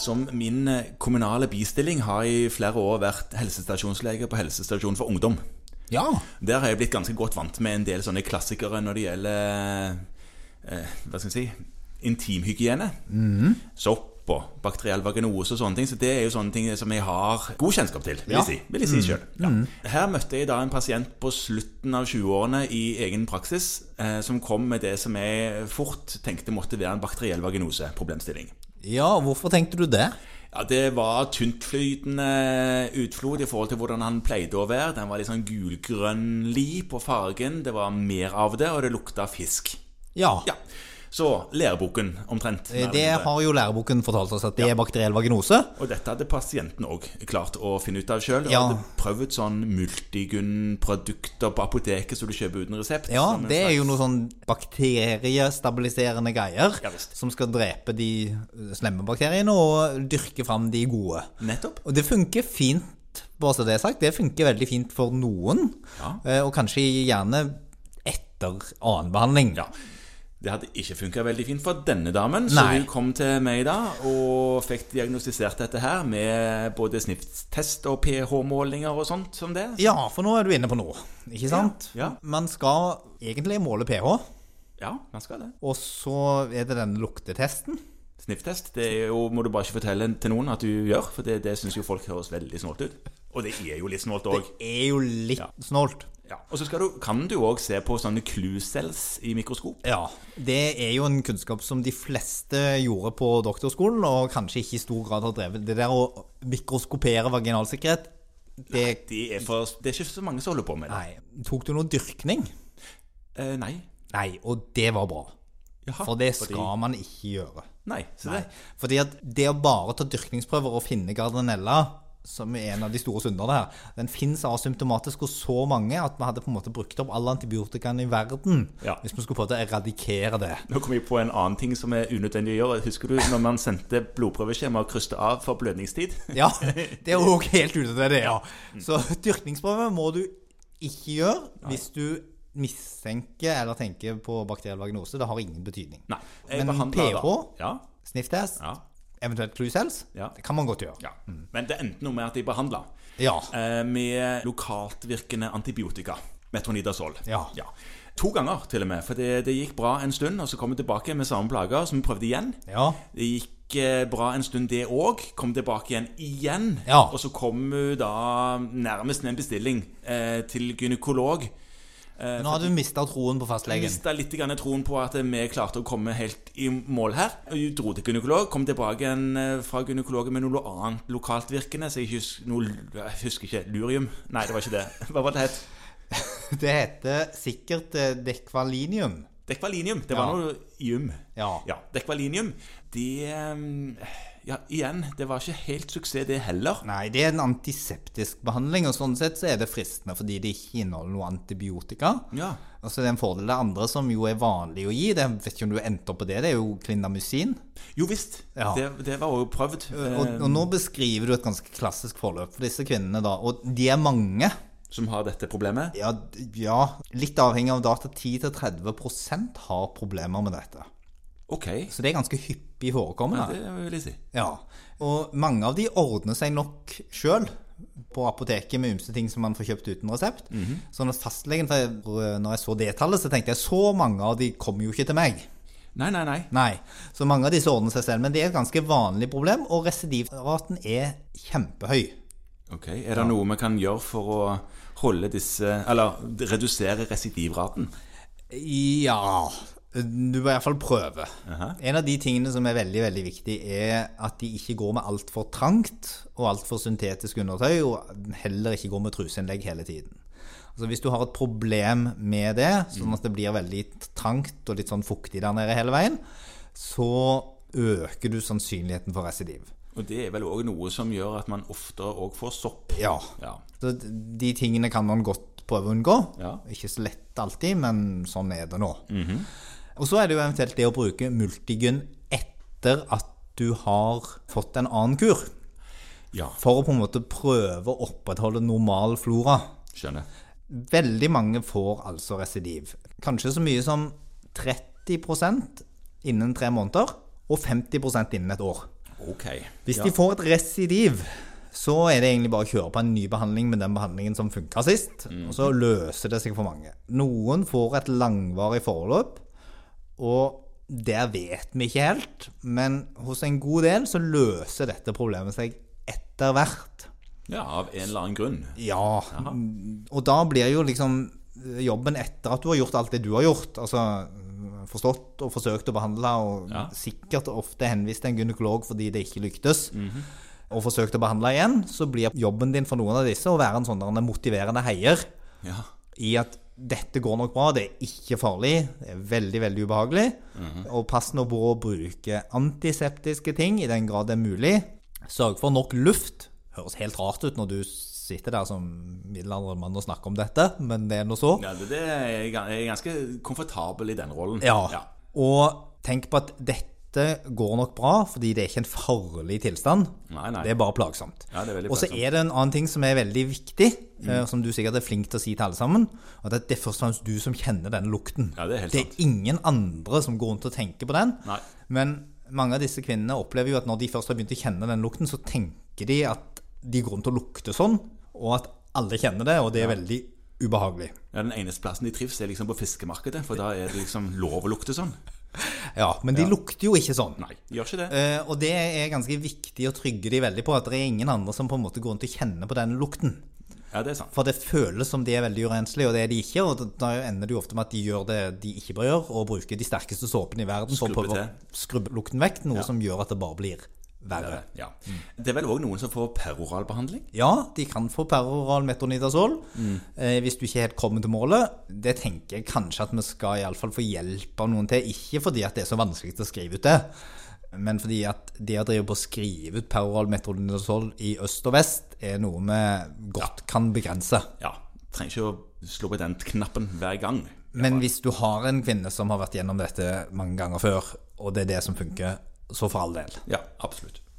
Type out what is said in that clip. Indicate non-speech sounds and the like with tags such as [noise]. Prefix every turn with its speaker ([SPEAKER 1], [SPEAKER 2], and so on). [SPEAKER 1] som min eh, kommunale bistilling har i flere år vært helsestasjonslege på helsestasjon for ungdom.
[SPEAKER 2] Ja.
[SPEAKER 1] Der har jeg blitt ganske godt vant med en del sånne klassikere når det gjelder eh, hva skal jeg si, intimhygiene. Sopp og bakteriell vaginose og sånne ting. Så det er jo sånne ting som jeg har god kjennskap til, vil
[SPEAKER 2] Ja.
[SPEAKER 1] jeg si, vil jeg si selv. Ja. Her møtte jeg da en pasient på slutten av 20-årene i egen praksis eh, som kom med det som jeg fort tenkte måtte være en bakteriell vaginose-problemstilling.
[SPEAKER 2] ja, hvorfor tenkte du det?
[SPEAKER 1] Ja, Det var tyntflytende utflod i forhold til hvordan han pleide å være. Den var litt sånn gulgrønnlig på fargen. Det var mer av det, og det lukta fisk.
[SPEAKER 2] Ja.
[SPEAKER 1] Ja, Så læreboken, omtrent. mer eller
[SPEAKER 2] Eh, Det
[SPEAKER 1] mindre.
[SPEAKER 2] har jo læreboken fortalt oss at det er bakteriell vaginose.
[SPEAKER 1] Og dette hadde pasienten òg klart å finne ut av sjøl.
[SPEAKER 2] Ja.
[SPEAKER 1] Hadde prøvd sånn Multigun-produkter på apoteket som du kjøper uten resept.
[SPEAKER 2] Ja,
[SPEAKER 1] som en
[SPEAKER 2] det er jo
[SPEAKER 1] slags-
[SPEAKER 2] noe sånn bakteriestabiliserende greier
[SPEAKER 1] Ja, visst.
[SPEAKER 2] som skal drepe de eh, slemme bakteriene og dyrke fram de gode.
[SPEAKER 1] Nettopp.
[SPEAKER 2] Og det funker fint, bare så det er sagt. Det funker veldig fint for noen,
[SPEAKER 1] Ja.
[SPEAKER 2] eh, og kanskje gjerne etter annen behandling.
[SPEAKER 1] Ja. Det hadde ikke funka veldig fint for denne damen, så
[SPEAKER 2] Nei.
[SPEAKER 1] hun kom til meg da og fikk diagnostisert dette her med både sniftest og pH-målinger og sånt som det.
[SPEAKER 2] Ja, for nå er du inne på noe, ikke sant?
[SPEAKER 1] ja.
[SPEAKER 2] Man skal egentlig måle pH,
[SPEAKER 1] Ja, man skal det.
[SPEAKER 2] og så er det den luktetesten.
[SPEAKER 1] Snifftest det er jo, må du bare ikke fortelle til noen at du gjør, for det, det syns jo folk høres veldig snålt ut. Og det er jo litt snålt òg.
[SPEAKER 2] Er jo litt
[SPEAKER 1] Ja.
[SPEAKER 2] snålt.
[SPEAKER 1] Ja. Og så skal du, kan du òg se på sånne clue-cells i mikroskop.
[SPEAKER 2] Ja, det er jo en kunnskap som de fleste gjorde på doktorskolen, og kanskje ikke i stor grad har drevet. Det der å mikroskopere vaginalsikkerhet, det
[SPEAKER 1] De er for, det er ikke så mange som holder på med det.
[SPEAKER 2] Nei. Tok du noe dyrkning?
[SPEAKER 1] Eh, nei.
[SPEAKER 2] Nei, og det var bra.
[SPEAKER 1] Jaha,
[SPEAKER 2] For det
[SPEAKER 1] fordi-
[SPEAKER 2] skal man ikke gjøre.
[SPEAKER 1] Nei. Så
[SPEAKER 2] Nei.
[SPEAKER 1] det
[SPEAKER 2] Fordi at det å bare ta dyrkningsprøver og finne gardinella, som er en av de store synderne her, den fins asymptomatisk hos så mange at vi hadde på en måte brukt opp all antibiotikaen i verden
[SPEAKER 1] Ja.
[SPEAKER 2] hvis vi skulle prøvd å eradikere det.
[SPEAKER 1] Nå kom jeg på en annen ting som er unødvendig å gjøre. Husker du når man sendte blodprøveskjema og krysset av for blødningstid?
[SPEAKER 2] Ja, det er jo også helt ute til det, ja. Så dyrkningsprøve må du ikke gjøre hvis du mistenker eller tenker på bakteriell vaginose. Det har ingen betydning.
[SPEAKER 1] [laughs] Nei. jeg
[SPEAKER 2] Men
[SPEAKER 1] behandlet da-
[SPEAKER 2] pH?
[SPEAKER 1] Ja,
[SPEAKER 2] Snifftest,
[SPEAKER 1] ja,
[SPEAKER 2] eventuelt clue cells,
[SPEAKER 1] Ja.
[SPEAKER 2] det kan man godt gjøre.
[SPEAKER 1] ja. Men det endte noe med at jeg behandla
[SPEAKER 2] Mm. Ja.
[SPEAKER 1] eh, med lokaltvirkende antibiotika. Metronidazol.
[SPEAKER 2] Ja.
[SPEAKER 1] To ganger, til og med. For det, det gikk bra en stund, og så kom jeg tilbake med samme plager, så vi prøvde igjen.
[SPEAKER 2] Ja.
[SPEAKER 1] Det gikk eh, bra en stund, det òg. Kom tilbake igjen igjen.
[SPEAKER 2] Ja.
[SPEAKER 1] Og så kom hun da nærmest med en bestilling eh, til gynekolog. Eh,
[SPEAKER 2] Nå har du mista troen på fastlegen.
[SPEAKER 1] mista litt grann troen på at vi klarte å komme helt i mål her. Jeg dro til gynekolog, kom tilbake igjen eh, fra gynekologen med noe annet lokaltvirkende. Så jeg husker, noe, jeg husker ikke Lurium? Nei, det var ikke det. [laughs] Hva var det het?
[SPEAKER 2] Det heter sikkert eh, dekvalinium.
[SPEAKER 1] Dekvalinium. Det
[SPEAKER 2] Ja.
[SPEAKER 1] var noe jum.
[SPEAKER 2] Ja.
[SPEAKER 1] Ja, Dekvalinium. Det eh, Ja, igjen, det var ikke helt suksess, det heller.
[SPEAKER 2] Nei, det er en antiseptisk behandling, og sånn sett så er det fristende fordi det ikke inneholder noe antibiotika.
[SPEAKER 1] Ja.
[SPEAKER 2] Og så er Altså, det en fordel det andre som jo er vanlig å gi, det vet ikke om du endte opp på det, det er jo klinamusin.
[SPEAKER 1] Jo visst.
[SPEAKER 2] Ja. Eh,
[SPEAKER 1] Det, det var jo prøvd. eh,
[SPEAKER 2] Og, og nå beskriver du et ganske klassisk forløp for disse kvinnene da, og de er mange.
[SPEAKER 1] Som har dette problemet.
[SPEAKER 2] Ja, d- ja litt avhengig av data, 10-30 prosent har problemer med dette.
[SPEAKER 1] Ok.
[SPEAKER 2] Så det er ganske hyppig
[SPEAKER 1] Ja,
[SPEAKER 2] forekommende.
[SPEAKER 1] det vil jeg si.
[SPEAKER 2] Ja, og mange av de ordner seg nok sjøl på apoteket med ymse ting som man får kjøpt uten resept. Sånn at fastlegen, for jeg- når jeg så det tallet, så tenkte jeg så mange av de kommer jo ikke til meg.
[SPEAKER 1] Nei, nei, nei.
[SPEAKER 2] Nei, så mange av disse ordner seg selv, men det er et ganske vanlig problem, og residivraten er kjempehøy.
[SPEAKER 1] Ok, Er det noe vi kan gjøre for å holde disse Eller redusere residivraten?
[SPEAKER 2] Ja Du må i hvert fall prøve.
[SPEAKER 1] Aha.
[SPEAKER 2] En av de tingene som er veldig veldig viktig, er at de ikke går med altfor trangt og altfor syntetisk undertøy, og heller ikke går med truseinnlegg hele tiden. Altså Hvis du har et problem med det, sånn at det blir veldig trangt og litt sånn fuktig der nede hele veien, så øker du sannsynligheten for residiv.
[SPEAKER 1] Og det er vel òg noe som gjør at man oftere òg får sopp.
[SPEAKER 2] Ja.
[SPEAKER 1] Ja.
[SPEAKER 2] Så de tingene kan man godt prøve å unngå.
[SPEAKER 1] Ja.
[SPEAKER 2] Ikke så lett alltid, men sånn er det nå. Og så er det jo eventuelt det å bruke multigun etter at du har fått en annen kur.
[SPEAKER 1] ja.
[SPEAKER 2] For å på en måte prøve å opprettholde normal flora.
[SPEAKER 1] Skjønner.
[SPEAKER 2] Veldig mange får altså residiv. Kanskje så mye som 30 innen tre måneder, og 50 innen et år.
[SPEAKER 1] Ok.
[SPEAKER 2] Hvis
[SPEAKER 1] Ja.
[SPEAKER 2] de får et residiv, så er det egentlig bare å kjøre på en ny behandling med den behandlingen som funka sist, og så løser det seg for mange. Noen får et langvarig forløp, og der vet vi ikke helt, men hos en god del så løser dette problemet seg etter hvert.
[SPEAKER 1] Ja, av en eller annen grunn.
[SPEAKER 2] Ja, Mm, og da blir jo liksom jobben etter at du har gjort alt det du har gjort, altså forstått og forsøkt å behandle, og
[SPEAKER 1] Ja.
[SPEAKER 2] sikkert ofte henvist til en gynekolog fordi det ikke lyktes, og forsøkt å behandle igjen, så blir jobben din for noen av disse å være en sånn der en motiverende heier
[SPEAKER 1] Ja.
[SPEAKER 2] i at dette går nok bra, det er ikke farlig, det er veldig, veldig ubehagelig, og pass nå på å bruke antiseptiske ting i den grad det er mulig. Sørg for nok luft. Høres helt rart ut når du sitter der som middelaldrende mann og snakker om dette, men det er nå så.
[SPEAKER 1] ja det, det er jeg gan- jeg er ganske komfortabel i den rollen.
[SPEAKER 2] Ja. Og tenk på at dette går nok bra, fordi det er ikke en farlig tilstand.
[SPEAKER 1] Nei, nei.
[SPEAKER 2] Det er bare plagsomt.
[SPEAKER 1] Ja, det er veldig
[SPEAKER 2] og så
[SPEAKER 1] plagsomt. Mm.
[SPEAKER 2] er det en annen ting som er veldig viktig, eh, som du sikkert er flink til å si til alle sammen, at det er først og fremst du som kjenner den lukten.
[SPEAKER 1] Ja, det er helt sant.
[SPEAKER 2] ingen andre som går rundt og tenker på den.
[SPEAKER 1] Nei.
[SPEAKER 2] Men mange av disse kvinnene opplever jo at når de først har begynt å kjenne den lukten, så tenker de at de går rundt og lukter sånn, og at alle kjenner det, og det er veldig ubehagelig.
[SPEAKER 1] Ja, Den eneste plassen de trives, er liksom på fiskemarkedet, for da er det [laughs] liksom lov å lukte sånn.
[SPEAKER 2] Ja, men de lukter jo ikke sånn.
[SPEAKER 1] Nei, de gjør ikke det.
[SPEAKER 2] Eh, og det er ganske viktig å trygge de veldig på, at det er ingen andre som på en måte går rundt og kjenner på den lukten.
[SPEAKER 1] Ja, det er sant.
[SPEAKER 2] For det føles som de er veldig urenslige, og det er de ikke. Og da- da ender det jo ofte med at de gjør det de ikke bør gjøre, og bruker de sterkeste såpene i verden for å
[SPEAKER 1] Skrubbe
[SPEAKER 2] prøve å skrubbe lukten vekk, noe som gjør at det bare blir verre.
[SPEAKER 1] Ja. Det er vel òg noen som får peroralbehandling?
[SPEAKER 2] Ja, de kan få peroral metronidazol eh, hvis du ikke helt kommer til målet. Det tenker jeg kanskje at vi skal i alle fall få hjelp av noen til. Ikke fordi at det er så vanskelig å skrive ut det, men fordi at det å drive på å skrive ut peroral metronidazol i øst og vest er noe vi godt kan begrense.
[SPEAKER 1] Ja. Trenger ikke å slå på den knappen hver gang.
[SPEAKER 2] Men hvis du har en kvinne som har vært gjennom dette mange ganger før, og det er det som funker, så for all del.
[SPEAKER 1] Ja, absolutt.